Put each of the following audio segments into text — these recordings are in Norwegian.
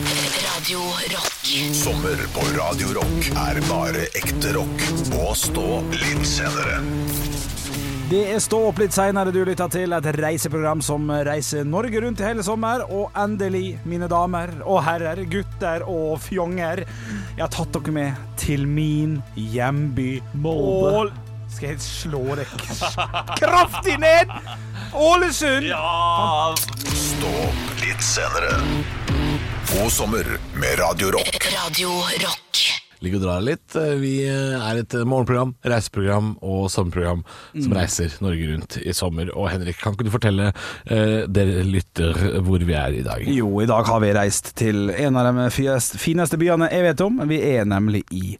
Radio Rock. Sommer på Radio Rock er bare ekte rock. Og stå litt senere. Det er Stå opp litt seinere du lytter til, et reiseprogram som reiser Norge rundt i hele sommer. Og endelig, mine damer og herrer, gutter og fjonger, jeg har tatt dere med til min hjemby Molde. Skal jeg slå deg kraftig ned? Ålesund! Stå opp litt senere. God sommer med Radio Rock. Radio Rock. Ligger og drar litt. Eh, Vi er et eh, morgenprogram, reiseprogram og sommerprogram som reiser Norge rundt i sommer. Og Henrik, kan ikke du fortelle eh, dere lytter hvor vi er i dag? Jo, i dag har vi reist til en av de fies- fineste byene jeg vet om. Vi er nemlig i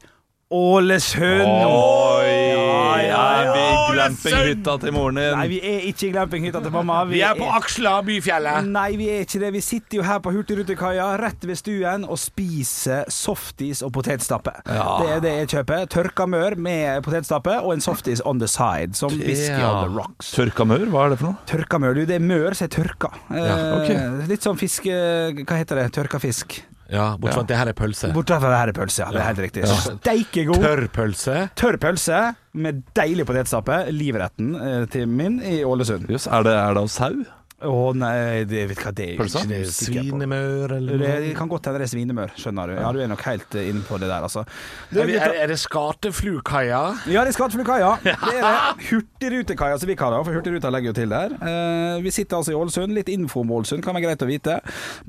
Ålesund. Oi! Ja, ja, ja. Er vi i Ålesund! glampinghytta til moren din? Nei, vi er ikke i glampinghytta til mamma. Vi, Aksla Ah. byfjellet. Nei, vi er ikke det. Vi sitter jo her på Hurtigrutekaia, rett ved stuen, og spiser softis og potetstappe. Det er det jeg kjøper. Tørka mør med potetstappe og en softis on the side, som whisky on the rocks. Tørka maur, hva er det for noe? Tørka mør, du. Det er mør som er tørka. ok. Eh, Litt sånn fiske... Hva heter det? Tørka fisk. Ja, bortsett fra at det her er pølse. Bortsett fra det her er pølse, ja. Det er helt riktig. Steike god. Tørrpølse. Tørr pølse med deilig potetstappe. Livretten eh, til min i Ålesund. Jøss, er det, er det av sau? Å nei, det, vet du hva det er? Pølse? Ikke det er jeg sikker på. Svinemør eller noe. Det kan godt hende det er svinemør, skjønner du. Ja, du er nok helt eh, inne på det der, altså. Er, vi- er, er det Skateflukaia? Ja, det er Skattfuglkaia. Det er det. Hurtigrutekaia, som vi kaller det. For Hurtigruta legger jo til der. Eh, vi sitter altså i Ålesund. Litt info om Ålesund kan være greit å vite.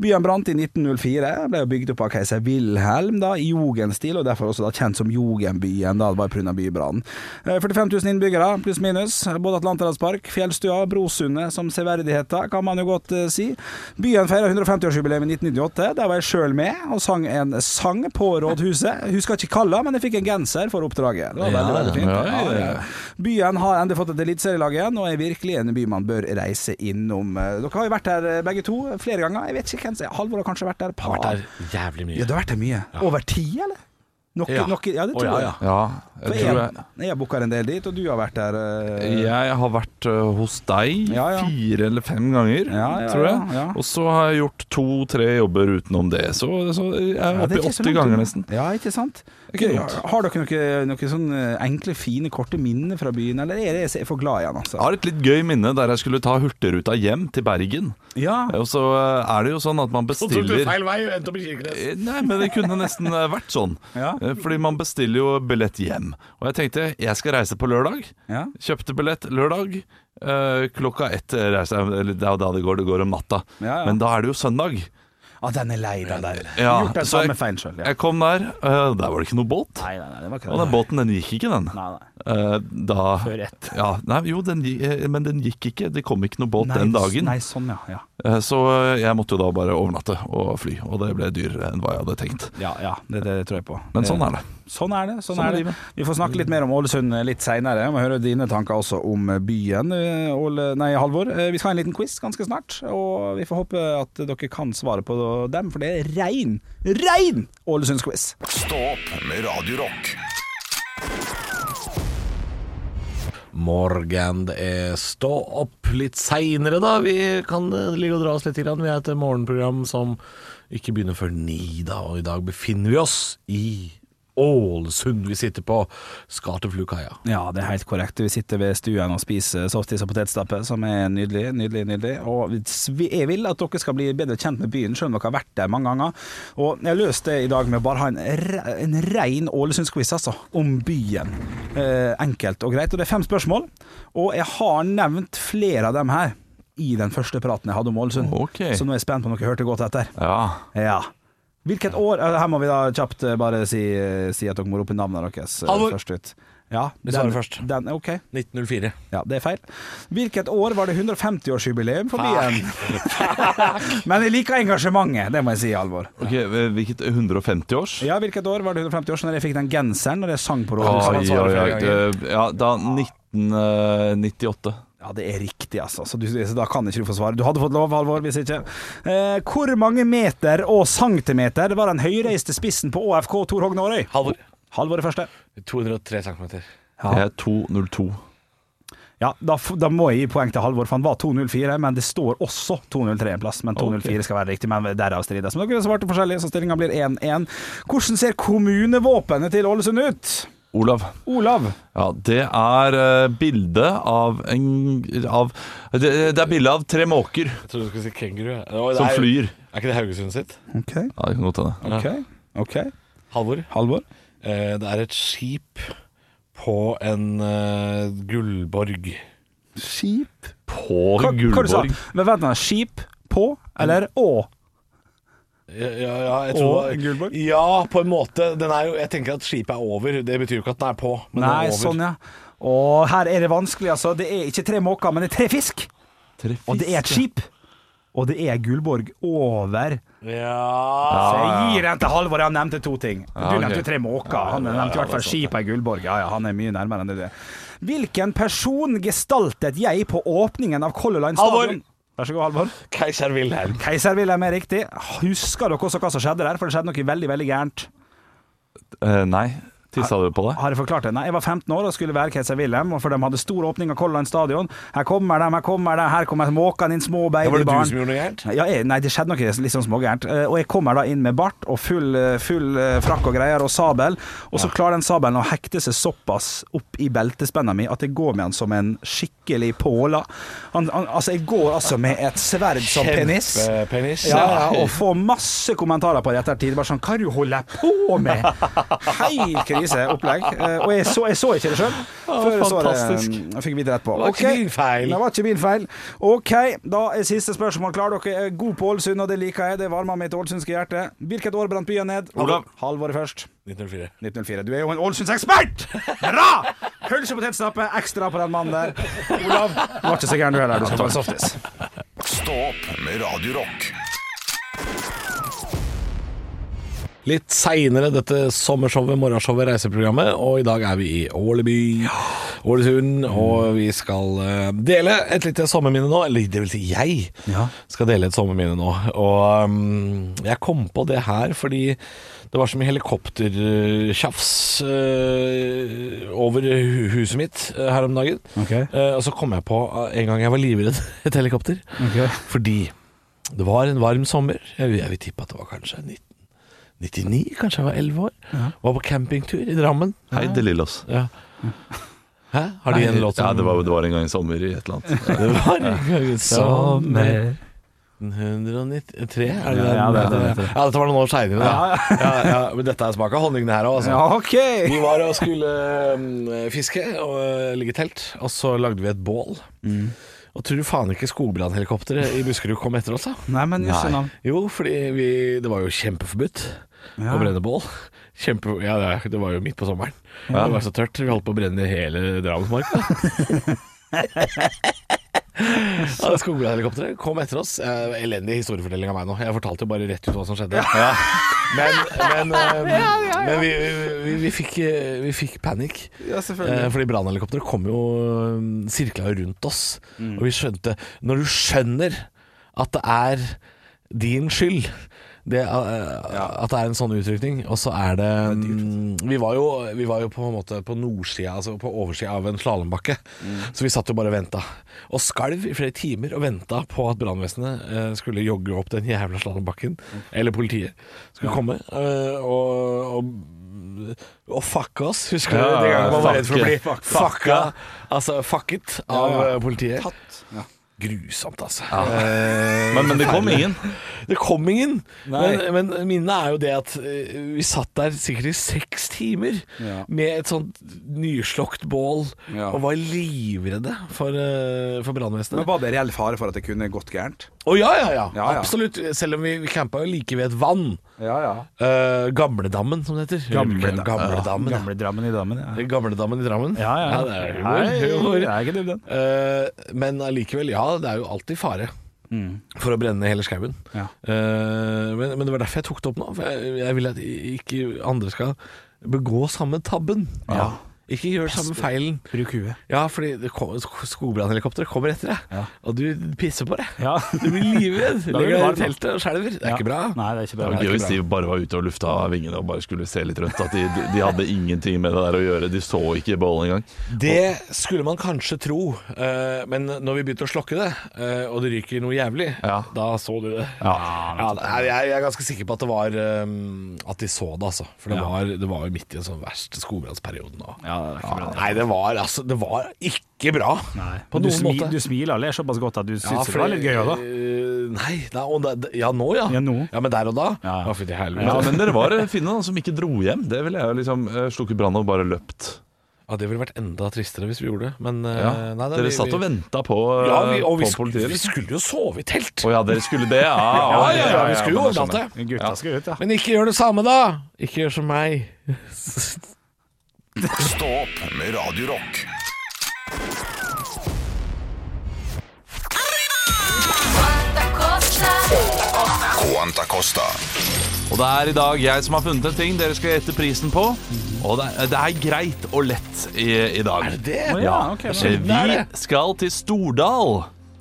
Byen brant i 1904. Ble jo bygd opp av keiser Wilhelm da, i jugendstil, og derfor også da kjent som Jugendbyen. Da, det var pga. bybrannen. Eh, 45 000 innbyggere, pluss minus. Både Atlanterhavspark, Fjellstua, Brosundet som severdigheter, kan man jo godt eh, si. Byen feira 150-årsjubileum i 1998. Der var jeg sjøl med og sang en sang på rådhuset. Husker ikke kalla, men jeg fikk en genser for oppdraget. Det var veldig, Ja, veldig fint. ja, ja, ja. Byen har endelig fått et eliteserielag igjen, og er virkelig en by man bør reise innom. Dere har jo vært her eh, begge to flere ganger. Jeg vet ikke hvem som er- Halvor har kanskje vært der et par Vært der Ja, jævlig mye. du har vært der mye. Over ti, eller? Noe, Ja. noe, ja det Å, tror ja, jeg. ja. Ja, For jeg tror jeg jeg, jeg booker en del dit, og du har vært der eh, jeg har vært ø, hos deg Ja, ja. fire eller fem ganger, Ja, ja, tror jeg. ja, ja. Og så har jeg gjort to-tre jobber utenom det. Så, så jeg er Ja, det er oppe i ikke så 80 langt ganger unna. nesten. Ja, ikke sant? Ikke dumt. Ja, har dere noen noe sånn eh, enkle, fine, korte minner fra byen, eller er det- er jeg for glad i den, Jeg altså? har et litt gøy minne der jeg skulle ta Hurtigruta hjem til Bergen. Ja. Og så ø, er det jo sånn at man bestiller vei og endte opp i Kirkenes. Eh, Nei, men det kunne nesten eh, vært sånn. Ja. Eh, Fordi man bestiller jo billett hjem. Og jeg tenkte jeg skal reise på lørdag. Ja. Kjøpte billett lørdag. eh, klokka ett reiser jeg, eller det er jo da det går, det går om natta. Ja, ja. Men da er det jo søndag. Ah, den er lei, den der. Ja, Gjort den så jeg- samme feilen sjøl, ja. Jeg kom der, eh, der var det ikke noe båt. Nei, nei, nei, det var ikke Og den båten, den gikk ikke, den. Nei, nei. Eh, da Før ett. Ja, nei, jo, den, gi- eh, men den gikk ikke. Det kom ikke noe båt Nei, den dagen. Nei, sånn, ja. Ja, Eh, så jeg måtte jo da bare overnatte og fly. Og det ble dyrere enn hva jeg hadde tenkt. ja, ja det, det tror jeg på. Men Det- sånn er det. Sånn er det. Sånn, Sånn er er det. livet. Vi får snakke litt mer om Ålesund eh, litt seinere. Må høre dine tanker også om byen, eh, Åle, nei, Halvor. Eh, Vi skal ha en liten quiz ganske snart, og vi får håpe at dere kan svare på dem, for det er rein, rein Ålesundsquiz. Stå opp med Radio Rock. Morgen, det er stå opp litt seinere, da. Vi kan eh, ligge og dra oss litt. Grann. Vi er et eh, morgenprogram som ikke begynner før ni, da. Og i dag befinner vi oss i Ålesund. Vi sitter på Skateflukaia. Ja, det er helt korrekt. Vi sitter ved stuen og spiser softis og potetstappe, som er nydelig, nydelig, nydelig. Og vi- jeg vil at dere skal bli bedre kjent med byen, selv om dere har vært der mange ganger. Og jeg har løst det i dag med å bare ha en, re- en rein Ålesundsquiz, altså, om byen. Eh, enkelt og greit. Og det er fem spørsmål, og jeg har nevnt flere av dem her i den første praten jeg hadde om Ålesund. Ok. Så nå er jeg spent på om dere hørte godt etter. Ja. Ja. Hvilket år eh, Her må vi da kjapt eh, bare si, si at dere må rope navnet deres eh, Halvor. først ut. Ja, Vi svarer først. Den, ok, 1904. ja, det er feil. Hvilket år var det 150-årsjubileum for byen? Men jeg liker engasjementet, det må jeg si, Alvor. Ok, eh, Hvilket 150 års? Ja, hvilket år var det 150 år siden jeg fikk den genseren når jeg sang på Oi, rådhuset? oi, svarer oi. flere ganger. Det- Ja, da 1998. Ja, det er riktig, altså. Så, du, så da kan ikke du få svare. Du hadde fått lov, Halvor, hvis ikke. Eh, hvor mange meter og centimeter var den høyreiste spissen på ÅFK Tor Hogne Aarøy? Halvor. Halvor er første. 203 cm. Det er 202. Ja, da, f- da må jeg gi poeng til Halvor, for han var 204, men det står også 203 en plass. Men 204 skal være riktig, men derav strides. Men dere svarte forskjellig, så stillinga blir 1-1. Hvordan ser kommunevåpenet til Ålesund ut? Olav. Olav? Ja, det er eh, bilde av en av, det, det er bilde av tre måker Jeg trodde du skulle si kenguru. jeg. Å, det som er- flyr. Er ikke det Haugesund sitt? OK. Ja, det kan godt hende. ok, ok Halvor? Halvor? Eh, det er et skip på en eh, gullborg. Skip? På Hva, hva du sa Gullborg. du? Men vent nå, skip på eller å? Ja, ja, ja, jeg Og tror en gullborg? Ja, på en måte. Den er jo, jeg tenker at skipet er over. Det betyr jo ikke at den er på, men Nei, den er over. sånn ja. Og her er det vanskelig, altså. Det er ikke tre måker, men det er tre fisk. Tre Og det er et fisk. skip. Og det er Gullborg over. Ja. Så jeg gir den til Halvor. Han nevnte to ting. Du ok. nevnte jo tre måker. Han nevnte i hvert fall skipet i Gullborg. Ja, ja, han er mye nærmere enn det. Hvilken person gestaltet jeg på åpningen av Color Line Halvor. stadion? Vær så god, Halvor. Keiser Wilhelm. Keiser Wilhelm er riktig. Husker dere også hva som skjedde der? For det skjedde noe veldig, veldig gærent. Eh, nei, tissa du på deg? Har jeg forklart det? Nei, jeg var 15 år og skulle være Keiser Wilhelm, og for de hadde stor åpning av Color Line stadion. Her kommer de, her kommer de, her kommer måkene inn, små Ja, var det du babybarn. som gjorde noe gærent? Ja, jeg, nei, det skjedde noe litt sånn smågærent. Eh, Og jeg kommer da inn med bart og full, eh, full eh, frakk og greier og sabel, og så klarer den sabelen å hekte seg såpass opp i beltespenna mi at jeg går med han som en skikkelig påla. Han, han, altså, jeg går altså med et sverd som penis. Penis. Ja, ja, og får masse kommentarer på det etter tid. Bare sånn Hva du holder på med?! Helt kriseopplegg. Eh, Og jeg så, jeg så ikke det sjøl. fantastisk. Jeg fikk vite rett på. Det var ikke Ok. din feil. Det var ikke min feil. OK, da er siste spørsmål. Klarer dere er god på Ålesund, og det liker jeg. Det varmer mitt ålesundske hjerte. Hvilket år brant byen ned? Olav. Halvåret først. 1904. 1904. Du er jo en Ålesundsekspert! Bra! Pølse og potetstappe ekstra på den mannen der. Olav, du var ikke så gæren du heller. Du skal få en softis. Stå opp med Radio Rock. Litt seinere dette sommershowet, morgenshowet, reiseprogrammet, og i dag er vi i Åleby, Ålesund, Mm. og vi skal eh, dele et lite sommerminne nå. Eller det vil si, jeg Ja. skal dele et sommerminne nå. Og um, jeg kom på det her fordi det var så mye helikoptertjafs eh, over hu- huset mitt eh, her om dagen. Ok. Eh, og så kom jeg på eh, en gang jeg var livredd et helikopter. Ok. Fordi det var en varm sommer. Jeg, jeg vil tippe at det var kanskje 1999, kanskje jeg var 11 år. Var på campingtur i Drammen. Hei, De Lillos. Ja. Hæ? Har de en låt som Ja, det var, det var en gang i sommer i et eller annet. Det var en gang i sommer 193, er det Ja, den? det er det, det er det. Ja, dette var noen år seinere, da. Ja, ja, men dette er smak av honning, det her òg, altså. Ja, OK! Vi var og skulle eh, fiske og eh, ligge i telt, og så lagde vi et bål. Og tror du faen ikke skogbrannhelikopteret i Buskerud kom etter oss, da? Nei, men jøsse Nei. navn. Jo, fordi vi, det var jo kjempeforbudt Ja. å brenne bål. Kjempe, ja, det er- det var jo midt på sommeren. Det var så tørt. Vi holdt på å brenne hele Drammensmarka. Ja, Skogbrannhelikopteret kom etter oss. Eh, elendig historiefortelling av meg nå. Jeg fortalte jo bare rett ut hva som skjedde. Men, men, eh, men vi, vi, vi fikk, eh, vi fikk panikk. Eh, Fordi brannhelikopteret kom jo eh, sirkla jo rundt oss. Og vi skjønte Når du skjønner at det er din skyld det, eh, At det er en sånn utrykning. Og så er det mm, vi, var jo, vi var jo på en måte på nordsida, altså på oversida av en slalåmbakke. Så vi satt jo bare og venta. Og skalv i flere timer og venta på at brannvesenet eh, skulle jogge opp den jævla slalåmbakken. Eller politiet skulle komme. eh, og, og å fucke oss, husker du? Ja, Den gangen man var redd for å bli fucke. fucka Altså fucket av eh, politiet. Grusomt, altså. Eh, Men, men det kom ingen. Det kom ingen. Men, men minnet er jo det at eh, vi satt der sikkert i seks timer Ja. med et sånt nyslokt bål Ja. og var livredde for, eh, for brannvesenet. Men Var det reell fare for at det kunne gått gærent? Å ja, ja, ja, Ja, ja. Absolutt. Selv om vi, vi campa jo like ved et vann. Ja, ja. Eh, Gamledammen, som det heter. Gamledam- Gamledammen, ja. Gamle Drammen i Drammen, ja. Det er Gamledammen i Drammen? Ja, ja. det er humor. Nei, humor. det er ikke dum, den. Eh, men allikevel, ja, det er jo alltid fare for å brenne hele skauen. Mm, Ja. Eh, men, men det var derfor jeg tok det opp nå. For jeg, jeg vil at ikke andre skal begå samme tabben. Ja. Ikke gjør samme feilen. Bruk huet. Ja, fordi det kom- skogbrannhelikopteret kommer etter deg, Ja. og du pisser på deg. Ja. Du blir livredd. blir Legger du deg varm, i da. teltet og skjelver. Det er ikke bra. Nei, det er ikke bra. Det var gøy Det er hvis ikke bra. de bare var ute og lufta vingene og bare skulle se litt rundt. At de, de, de hadde ingenting med det der å gjøre. De så ikke bollen engang. Det skulle man kanskje tro, eh, men når vi begynte å slokke det, eh, og det ryker noe jævlig, Ja. da så du det. Ja, nei, jeg, jeg er ganske sikker på at det var eh, At de så det, altså. For det, var, det var jo midt i en sånn verste skogbrannsperioden. og- Ja, det er ikke bra. Nei, det var altså Det var ikke bra. Nei. På Men du, noen smi, måte. du smiler og ler såpass godt at du syns Ja, det var fordi- litt gøy òg, da. eh, Nei, da, og da, ja nå ja. Ja, nå. men der og da? Ja, ja. Å, fy til helvete. Ja, men dere var eh, finne da, som ikke dro hjem. Det ville jeg jo liksom eh, slukket brannen og bare løpt. Ja, det ville vært enda tristere hvis vi gjorde det, men eh, Ja. nei, da, dere vi- satt vi- og venta på, eh, ja, vi, og vi, på sk- politiet. vi eller? skulle jo sove i telt. Å ja, dere skulle det? Ja, Ja, ja, ja, vi ja, skulle jo men jeg overnatte. skjønner. Gutta skal ut, ja. Men ikke gjør det samme, da! Ikke gjør som meg. Stå opp med Radio Rock. Quanta Costa. Og det er i dag jeg som har funnet en ting dere skal gjette prisen på. Og det er, det er greit og lett i, i dag. Er det det? Å, ja, ok, bra. Eh, Vi skal til Stordal.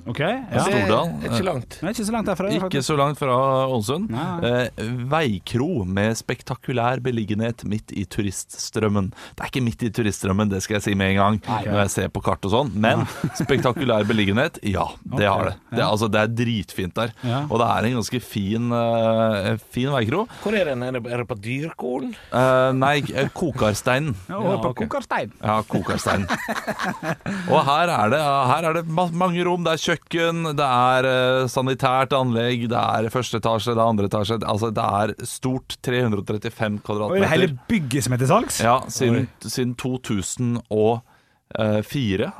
Ok, ja. Det- Stordal. Det er ikke langt. Det er ikke så langt derfra. Ikke faktisk. så langt fra Ålesund. Nei. Eh, veikro med spektakulær beliggenhet midt i turiststrømmen. Det er ikke midt i turiststrømmen, det skal jeg si med en gang, når jeg ser på kart og sånn, men spektakulær beliggenhet, ja, det har det. Det, er- altså, det er dritfint der. Ja. Og det er en ganske fin, eh, fin veikro. Hvor er den? Er det, er det på Dyrkolen? Eh, nei, eh, Kokarsteinen. Ja, og på ok. Kokarstein. Ja, kokerstein. Og her er, det, her er det ma- mange rom. Det er kjøkken, det er eh, sanitært anlegg, det er første etasje, det er andre etasje. Altså, det er stort. Og 335 det er hele kvadratmeter. bygget som er til salgs. Ja, siden, siden 2004 eh,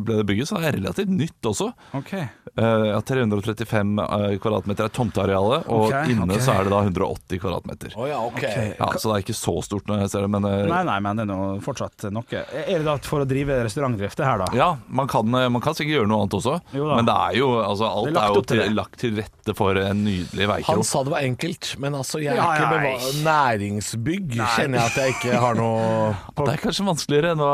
ble det bygget, så det er relativt nytt også. Ok. Eh, ja, 335 kvadratmeter er tomtearealet, og Ok, inne ok. så er det da 180 kvadratmeter. Å ja, ok. Ja, så det er ikke så stort når jeg ser det, men eh, Nei, nei, men det er nå fortsatt noe. Er det da for å drive restaurantdrift, det her, da? Ja, man kan, eh, man kan sikkert gjøre noe annet også, Jo da. men det er jo, altså, alt Det er er, lagt jo opp til til, det. lagt til rette for en nydelig Han veikro. sa det var enkelt, men altså, jeg er Ja, ja, ikke beva- næringsbygg. Kjenner jeg at jeg ikke har noe Det er kanskje vanskeligere eh. enn å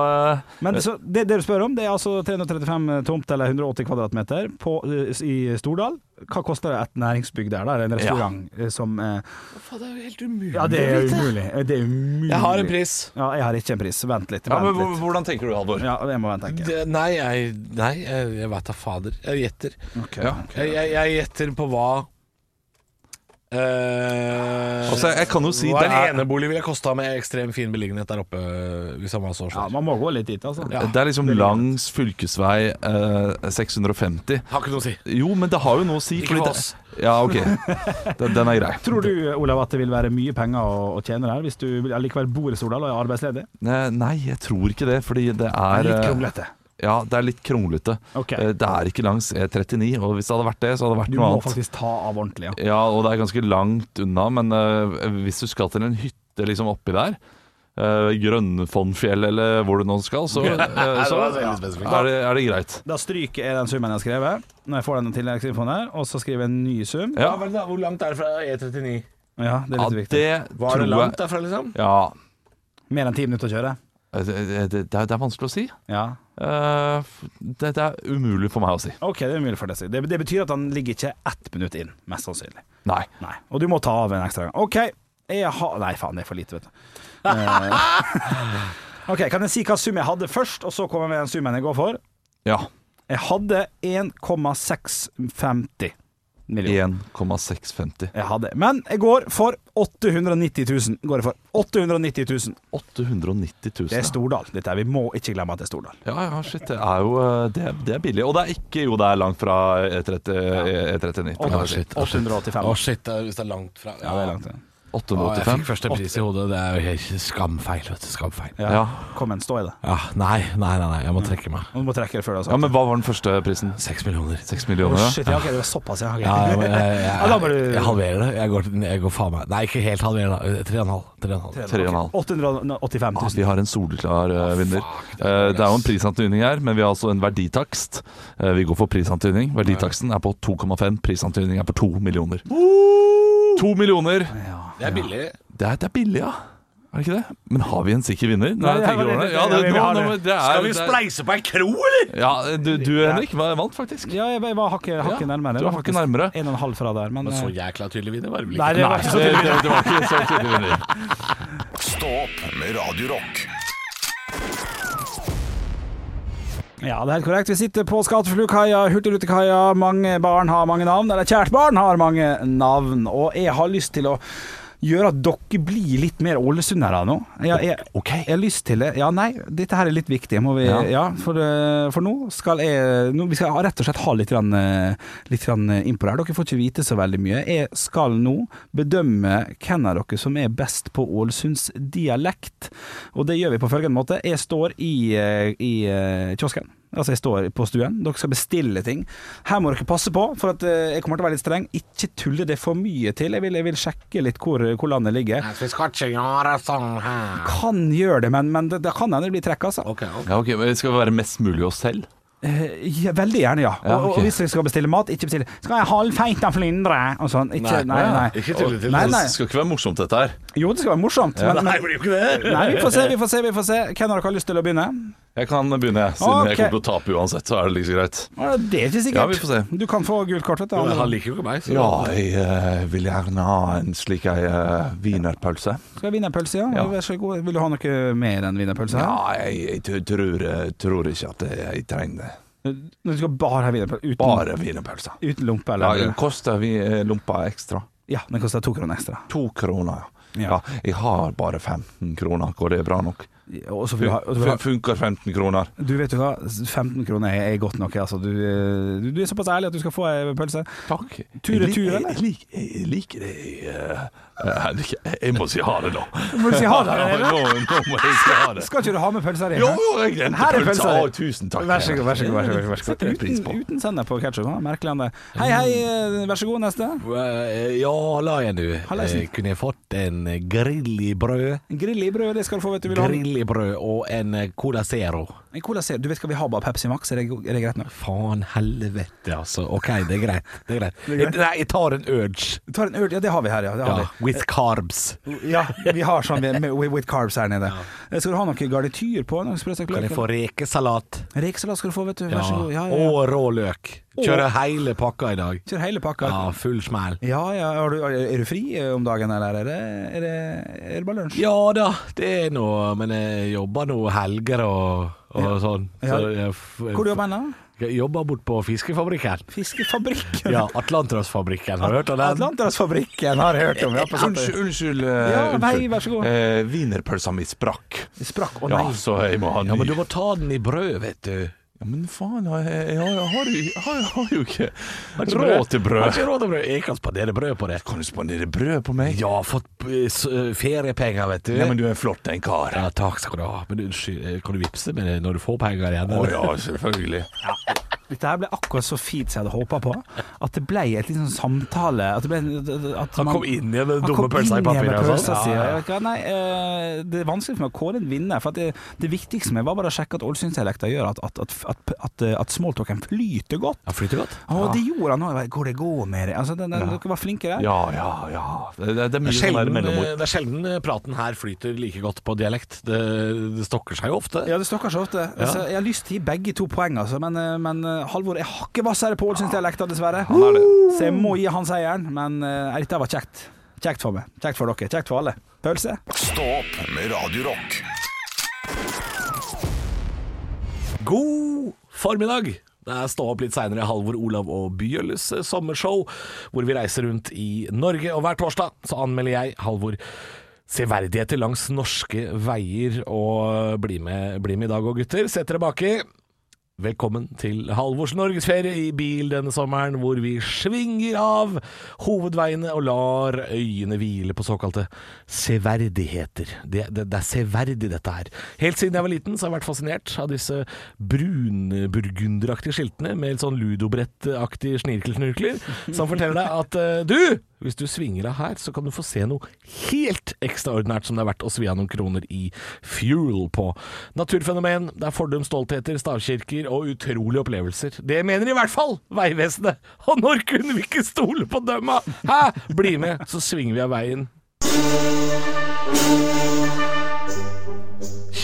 Men så, det, det du spør om, det er altså 335 tomt eller 180 kvadratmeter på, eh, i Stordal. Hva koster et næringsbygg der, da? Eller en restaurant eh, som eh, Faen, det er jo helt umulig. Ja, det er umulig. Eh, Det er umulig. Jeg har en pris. Ja, jeg har ikke en pris. Vent litt. Ja, Vent men hvor- litt. hvordan tenker du, Halvor? Ja, jeg må vente, tenker jeg. Det, nei, jeg, nei, jeg, jeg veit da fader. Jeg gjetter. Ok. Ja. Jeg, jeg, jeg gjetter på hva eh, Altså, jeg kan jo si Hva det en er- enebolig ville kosta med ekstremt fin beliggenhet der oppe, hvis han var så Ja, slett. man må gå litt dit, altså. Ja. Det er liksom langs fylkesvei eh, 650. Har ikke noe å si. Jo, men det har jo noe å si. Ikke fordi for det- oss. Ja, ok. Den, den er grei. Tror du, Olav, at det vil være mye penger å, å tjene der, hvis du likevel bor i Stordal og er arbeidsledig? Eh, Nei, jeg tror ikke det, fordi det er Litt eh, kronglete. Ja, det er litt kronglete. Ok. Eh, Det er ikke langs E39, og hvis det hadde vært det, så hadde det vært Du noe må annet. faktisk ta av ordentlig, ja. Ja, og det er ganske langt unna, men eh, hvis du skal til en hytte liksom oppi der, uh, Grønnfondfjell eller hvor du nå skal, så, eh, så er, det, er det greit. Da stryker jeg den summen jeg har skrevet, når jeg får den tilleggsinfoen her, og så skriver jeg en ny sum. Ja, vel da, Hvor langt er det fra E39? Ja, det er Ja, litt viktig. det Var tror det langt jeg derfra, liksom? Ja, eh, Mer enn ti minutter å kjøre. det, det, det, er, det er vanskelig å si. Ja. Eh, f- det, det er umulig for meg å si. OK, det er mulig for deg å si. Det, det betyr at han ligger ikke ett minutt inn, mest sannsynlig. Nei. Nei. Og du må ta av en ekstra gang. OK. Jeg har Nei, faen, det er for lite, vet du. Eh, OK, kan jeg si hva sum jeg hadde først, og så kommer jeg med den summen jeg går for? Ja. Jeg hadde 1,650 millioner. 1,650. Jeg hadde. Men jeg går for 890 000. Går jeg for. 890 000. 890 000. Det er ja. Stordal. Dette her. Vi må ikke glemme at det er Stordal. Ja, ja, shit. Det er jo eh, det, er- det er billig. Og det er ikke Jo, det er langt fra E E30, E39. Åtte- kan jeg si. 885. Å shit, det er- hvis det er langt fra Ja, det er langt. ja. 885. Ah, jeg fikk første pris i hodet. Det er jo helt skamfeil. vet du, Skamfeil. Ja. Ja. Kom igjen, stå i det. Ja, nei, nei, nei, nei, jeg må trekke meg. Du må trekke det før du har sagt Ja, det. men hva var den første prisen? Seks millioner. Seks millioner? Å, ja. Shit, ja, ok, det var såpass, ja. ok. Ja, jeg, jeg, jeg, Ja, da må du- jeg halverer det. Jeg går, jeg går faen meg Nei, ikke helt halverer, da. Eh, Tre og en halv. Tre og en halv. Tre og en halv. 885 Ah, 000. vi har en soleklar eh, vinner. Eh, det er jo en prisantydning her, men vi har altså en verditakst. Eh, vi går for prisantydning. Verditaksten er på 2,5. Prisantydning er på 2 millioner. To millioner! Det er billig. Det er, det er billig, ja. Er det ikke det? Men har vi en sikker vinner? Når jeg ja, tenker det- over det? det- Ja, det, det- vi nå, har nå, det. men det er, Skal vi det er- spleise på ei kro, eller? Ja, du, du Henrik, var- vant faktisk. Ja, jeg, jeg var hakket hakket Ja, nærmere. du var hakket faktisk nærmere. En og en halv fra der, men, Så eh, jækla tydelig vinner var det vel Nei, ikke. det var ikke så Det, tydelig. det, det var ikke så tydelig vinner. Stå opp med Radio Rock. Ja, det er helt korrekt. Vi sitter på Skatteflukaia, Hurtigrutekaia. Mange barn har mange navn. Eller kjært barn har mange navn. Og jeg har lyst til å gjøre at dere blir litt mer ålesundere nå. Jeg, jeg, jeg har lyst til det. Ja, nei, dette her er litt viktig. Må vi, ja. for, eh, for nå skal jeg nå, Vi skal rett og slett ha litt, grann, eh, litt grann eh, innpå det her. Dere får ikke vite så veldig mye. Jeg skal nå bedømme hvem av dere som er best på ålesundsdialekt. Og det gjør vi på følgende måte. Jeg står i, eh, i eh, kiosken. Altså Jeg står på stuen, dere skal bestille ting. Her må dere passe på, for at eh, jeg kommer til å være litt streng. Ikke tulle det for mye til. Jeg vil, jeg vil sjekke litt hvor, hvor landet ligger. Vi skal ikke gjøre sånn her. Kan gjøre det, men, men det, det kan hende det blir trekk, altså. Ok, ok. Ja, ok, men Skal vi være mest mulig oss selv? Eh, ja, veldig gjerne, ja. Og, Ja, ok. og hvis jeg skal bestille mat, ikke bestille Skal jeg halvfeit av flyndre? Og sånn. Ikke, nei, nei. Ikke tulle til Nei, nei. Det skal ikke være morsomt, dette her. Jo, det skal være morsomt, men, Nei, men det blir jo ikke det. Nei, vi får se, vi får se. vi får se Hvem av dere har lyst til å begynne? Jeg kan begynne, jeg. Siden Ok. jeg kommer til å tape uansett, så er det like så greit. Ah, Det er ikke sikkert. Ja, vi får se. Du kan få gult kort. vet du. Han liker jo ikke meg, så Ja, jeg eh, vil gjerne ha en slik ei uh, wienerpølse. Skal jeg wienerpølse, ja? Ja. Vær så god. Vil du ha noe mer enn wienerpølse? her? Ja, jeg, jeg t- tror, eh, tror ikke at jeg trenger det. Du skal bare ha wienerpølse? Uten, Bare wienerpølse. uten lompe, Mm. Ja, eller? det koster vi eh, lompa ekstra? Ja, den koster to kroner ekstra. To kroner, Ja. ja. ja. Jeg har bare 15 kroner, går det bra nok? Og så vil du ha, og så vil du ha Fun funker 15 kroner? Du vet jo hva, 15 kroner er er godt nok. Altså. Du, eh, du- du er såpass ærlig at du skal få ei pølse. Takk. Tur retur, Jeg lik- eller? Jeg, lik, jeg liker det eh, Henrik. Jeg, eh, jeg må si ha det, da. Må du si ha det, Ja, eller? nå, nå må jeg si ha det. Skal ikke du ha med pølser i? Jo, jo, jeg glemte Her er pølsa. pølsa. Å, Tusen takk. Vær så god, vær så god. Vær så god, vær så god. Setter jeg pris på. Uten, uten sennep og ketsjup. Merkelig han det. Hei, hei, eh, vær så god, neste. Eh, Ja, la igjen du. Hallaisen. Eh, Kunne jeg fått en grill i brød? Grill i brød, det skal du få, vet du. Vil du ha Grill i brød og en eh, Cola Zero. en Cola Zero? Du vet hva vi har, bare Pepsi Max, er det, er det greit nok? Faen helvete, altså. Ok, det er greit. Det er greit. Jeg, nei, jeg tar en Urge. Vi tar en øl, ja det har vi her, ja. Det har Ja, with carbs. vi. ja vi har sånn med, med, with carbs her nede. Eh, Skal du ha noe garnityr på? Noe Kan jeg få rekesalat? Rekesalat skal du få, vet du. Ja. Vær så god. Ja, ja, ja. Og rå løk. Kjøre hele pakka i dag. Kjør hele pakka. Ja, full smell. Ja, ja. Er du, er du fri eh, om dagen, eller er det, er det, er det bare lunsj? Ja da, det er nå Men jeg jobber nå helger og, og sånn. Ja. jeg, f- Hvor jobber du hen? da? Jeg jobber bort på fiskefabrikken. Fiskefabrikken. Ja, Atlanterhavsfabrikken. Har du hørt om den? Atlanterhavsfabrikken har jeg hørt om. Ja, på sant det. Unnskyld, unnskyld. Ja, nei, vær så god. Eh, Wienerpølsa mi sprakk. Det sprakk. Å ja, nei. så jeg må ha ny. Ja, men du må ta den i brød, vet du. Ja, men faen, jeg, jeg, har- jeg, har, jo- jeg, har, jeg har jo ikke ikke råd til Har brød. ikke råd til brød. Jeg kan spandere brød på det. Kan du spandere brød på meg? Ja, fått eh, s- eh, feriepenger, vet du. Ja, men du er en flott en kar. Ja, takk skal du ha. Men unnskyld, eh, kan du vippse med det når du får penger igjen? Å eller? ja, selvfølgelig. Dette her ble akkurat så fint som jeg hadde håpa på. At det ble et litt sånn samtale at det ble, at Han man- kom inn igjen med den Han dumme kom inn pølsa i igjen papiret. med og pølsa sånn. si, og Ja, ja. jeg vet hva, Nei, eh, det er vanskelig for meg å kåre en vinner. For at det, det viktigste med var bare å sjekke at ålesundsdialekta gjør at, at, at, at, at, at smalltalken flyter godt. Ja, flyter godt. Å, det gjorde han òg. Hvor det går med det. Altså, den, den, Dere var flinke der. Ja, ja, ja. Det, det, det er Det er, mye sånn som er sjelden, mellomord. eh, det er sjelden eh, praten her flyter like godt på dialekt. Det, det stokker seg jo ofte. Ja, det står kanskje ofte. Altså, jeg har lyst til å gi begge to poeng, altså, men, eh, men eh, Halvor er hakket hvassere på ålesundsdialekta, dessverre. Så jeg må gi han seieren, men eh, dette var kjekt. Kjekt for meg. Kjekt for dere. Kjekt for alle. Pølse. Stå opp med Radio Rock. God formiddag! Det er Stå opp litt seinere, Halvor Olav og Byøles sommershow, hvor vi reiser rundt i Norge. Og hver torsdag så anmelder jeg, Halvor, severdigheter langs norske veier. Og bli med, bli med i dag òg, gutter. Sett dere baki. Velkommen til Halvors norgesferie i bil denne sommeren, hvor vi svinger av hovedveiene og lar øyene hvile på såkalte severdigheter. Det, det, det er severdig, dette her. Helt siden jeg var liten, så har jeg vært fascinert av disse brunburgunderaktige skiltene med litt sånn ludobrettaktige snirkelsnurkler, som forteller deg at eh, du, hvis du svinger av her, så kan du få se noe helt ekstraordinært som det er verdt å svi av noen kroner i fuel på. Naturfenomen, det er fordums stoltheter, stavkirker og utrolige opplevelser. Det mener i hvert fall Vegvesenet! Og når kunne vi ikke stole på dømma? Hæ? Bli med, så svinger vi av veien.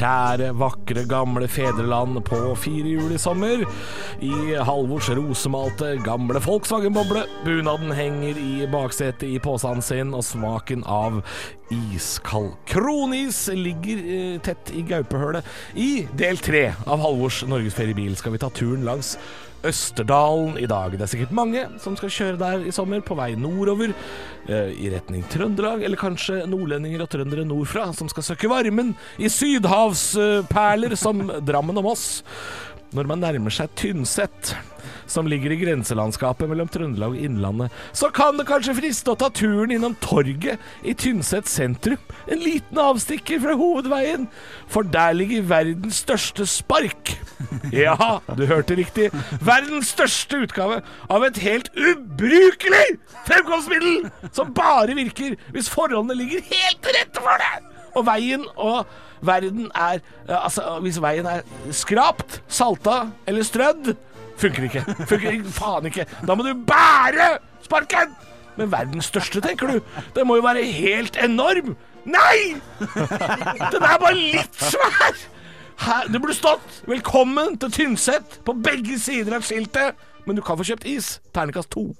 Kjære, vakre, gamle fedreland på firehjul i sommer. I Halvors rosemalte gamle Volkswagen-boble. Bunaden henger i baksetet i posen sin, og smaken av iskald kronis ligger eh, tett i gaupehølet. I del tre av Halvors norgesferiebil skal vi ta turen langs Østerdalen i dag. Det er sikkert mange som skal kjøre der i sommer, på vei nordover eh, i retning Trøndelag, eller kanskje nordlendinger og trøndere nordfra som skal søke varmen i sydhavsperler som Drammen og Moss. Når man nærmer seg Tynset, som ligger i grenselandskapet mellom Trøndelag og Innlandet, så kan det kanskje friste å ta turen innom torget i Tynset sentrum. En liten avstikker fra hovedveien, for der ligger verdens største spark. Ja, du hørte riktig. Verdens største utgave av et helt ubrukelig fremkomstmiddel, som bare virker hvis forholdene ligger helt til rette for det. Og veien og verden er eh, Altså, hvis veien er skrapt, salta eller strødd, funker ikke. Funker ikke, faen ikke. Da må du bære sparken! Men verdens største, tenker du. Den må jo være helt enorm. Nei! Den er bare litt svær! Her, det burde stått 'Velkommen til Tynset' på begge sider av skiltet. Men du kan få kjøpt is. Ternekast to.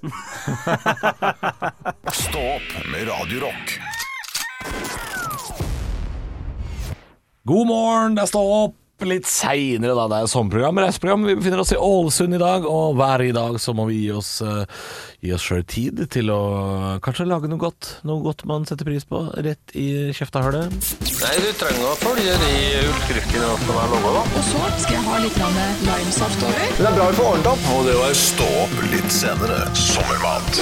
Stå opp med Radio Rock. God morgen, det er stå opp litt seinere, da. Det er sommerprogram, reiseprogram. Vi befinner oss i Ålesund i dag, og hver i dag så må vi gi oss eh, Gi oss sjøl tid til å kanskje lage noe godt. Noe godt man setter pris på, rett i kjeftehølet. Nei, du trenger å følge de urtkrukkene som er laga, da. Og så skal jeg ha litt grann limesaft over. Det er bra vi får ordnet opp. Og det var Stå opp litt senere. Sommermat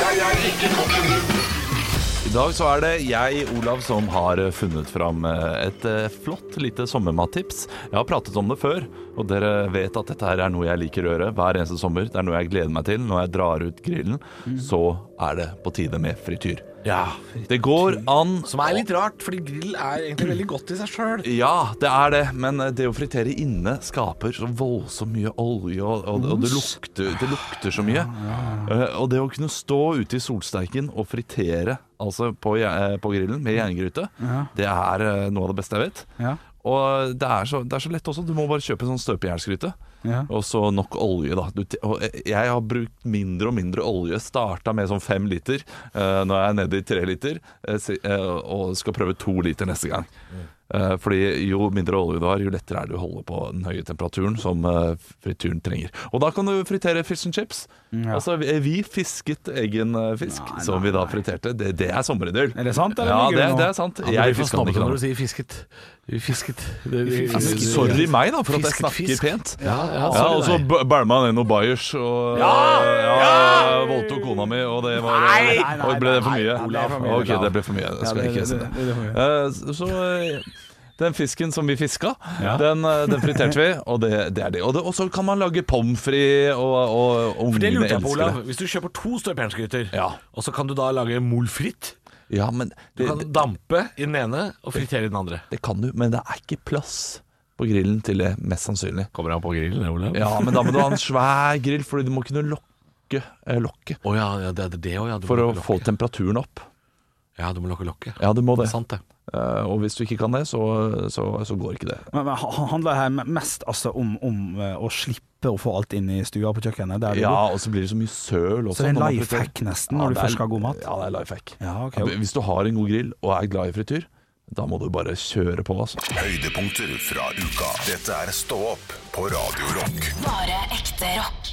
I dag så er det jeg, Olav, som har eh, funnet fram et eh, flott lite sommermattips. Jeg har pratet om det før, og dere vet at dette her er noe jeg liker å gjøre hver eneste sommer. Det er noe jeg gleder meg til. Når jeg drar ut grillen, så er det på tide med frityr. Mm. Ja. Det går an Som er litt rart, fordi grill er egentlig veldig godt i seg sjøl. Ja, det er det, men eh, det å fritere inne skaper så voldsomt mye olje, og, og, og det, lukter, det lukter så mye. Eh, Og det å kunne stå ute i solsteiken og fritere altså på, je- eh, på grillen med jerngryte, det er eh, noe av det beste jeg vet. Ja. Og det er, så, det er så lett også. Du må bare kjøpe en sånn støpejernsgryte. Ja. Og så nok olje, da. Du, t- og jeg jeg har brukt mindre og mindre olje. Starta med sånn fem liter. Eh, nå er jeg nede i tre liter, eh, si- eh, og skal prøve to liter neste gang. Eh, fordi jo mindre olje du har, jo lettere er det å holde på den høye temperaturen som eh, frityren trenger. Og da kan du fritere fish and chips. Altså, vi- vi fisket egen eh, fisk, som vi da friterte. Det, det er sommereidyll. Er det sant, eller Ja, ligger det det, nå? det er sant. Ja, jeg du blir fisket den snobbete ikke da. sånn, når du sier 'fisket'. Vi fisket. Det, det, Altså, Sorry meg, da, for at jeg Fisket snakker fisk. pent. Ja, altså, ja, Ja, sorry og så deg. b- bælma han inn noe bayers og ja! voldtok kona mi, og det var Nei! Og ble det for mye? det er for mye, ok, Olav. det ble for mye. Det skal jeg ikke si. det- det- det får vi gjøre. Eh, Så eh, den fisken som vi fiska, den, eh, den friterte vi, og det, det er det. Og det- og så kan man lage pommes frites, og, og For det ungene lurte jeg på, elsker Olav. det. Hvis du kjøper to støpejernsgryter, Ja. og så kan du da lage molfritt Ja, men Du det, kan dampe i den ene og fritere i den andre. det kan du, men det er ikke plass på grillen til det, mest sannsynlig. Kommer han på grillen, Olav? Ja. Ja, men da må du ha en svær grill, fordi du må kunne lokke, eh, lokke Å ja, ja, det er det òg, ja. Du må for å lukke få lokket. temperaturen opp. Ja, du må lukke lokket. Ja, du må Det det. er sant, det. Eh, og hvis du ikke kan det, så, så, så går ikke det. Men, men han- handler her mest altså om, om eh, å slippe å få alt inn i stua på kjøkkenet. Der du bor. Ja, og så blir det så mye søl også. Så det er en når man lifehack friterer. nesten, når du det er- først skal ha god mat. Ja, det er lifehack. Ja, ok. Hvis du har en god grill og er glad i frityr, da må du bare kjøre på, altså. Høydepunkter fra uka. Dette er Stå opp på Radio Rock. Bare ekte rock.